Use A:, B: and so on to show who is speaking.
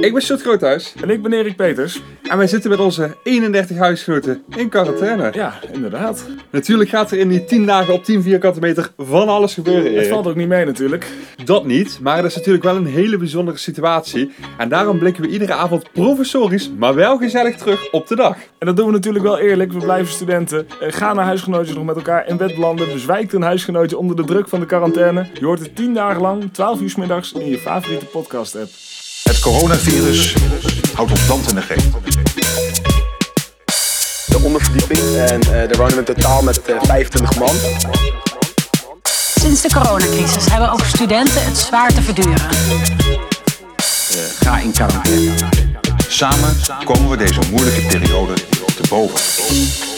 A: Ik ben Sjoerd Groothuis
B: En ik ben Erik Peters.
A: en wij zitten met onze 31 huisgenoten in quarantaine.
B: Ja, inderdaad.
A: Natuurlijk gaat er in die 10 dagen op 10 vierkante meter van alles gebeuren.
B: Het
A: Erik.
B: valt ook niet mee natuurlijk.
A: Dat niet, maar het is natuurlijk wel een hele bijzondere situatie. En daarom blikken we iedere avond professorisch, maar wel gezellig terug op de dag.
B: En dat doen we natuurlijk wel eerlijk. We blijven studenten. Eh, Ga naar huisgenootjes nog met elkaar in bed belanden. Bezwijkt een huisgenootje onder de druk van de quarantaine. Je hoort het 10 dagen lang, 12 uur 's middags in je favoriete podcast app.
C: Het coronavirus houdt ons land in de greep.
D: de onderverdieping. En eh daar wonen we in totaal met eh, 25 man.
E: Sinds de coronacrisis hebben ook studenten het zwaar te verduren.
C: Ga in quarantaine. Samen komen we deze moeilijke periode te boven.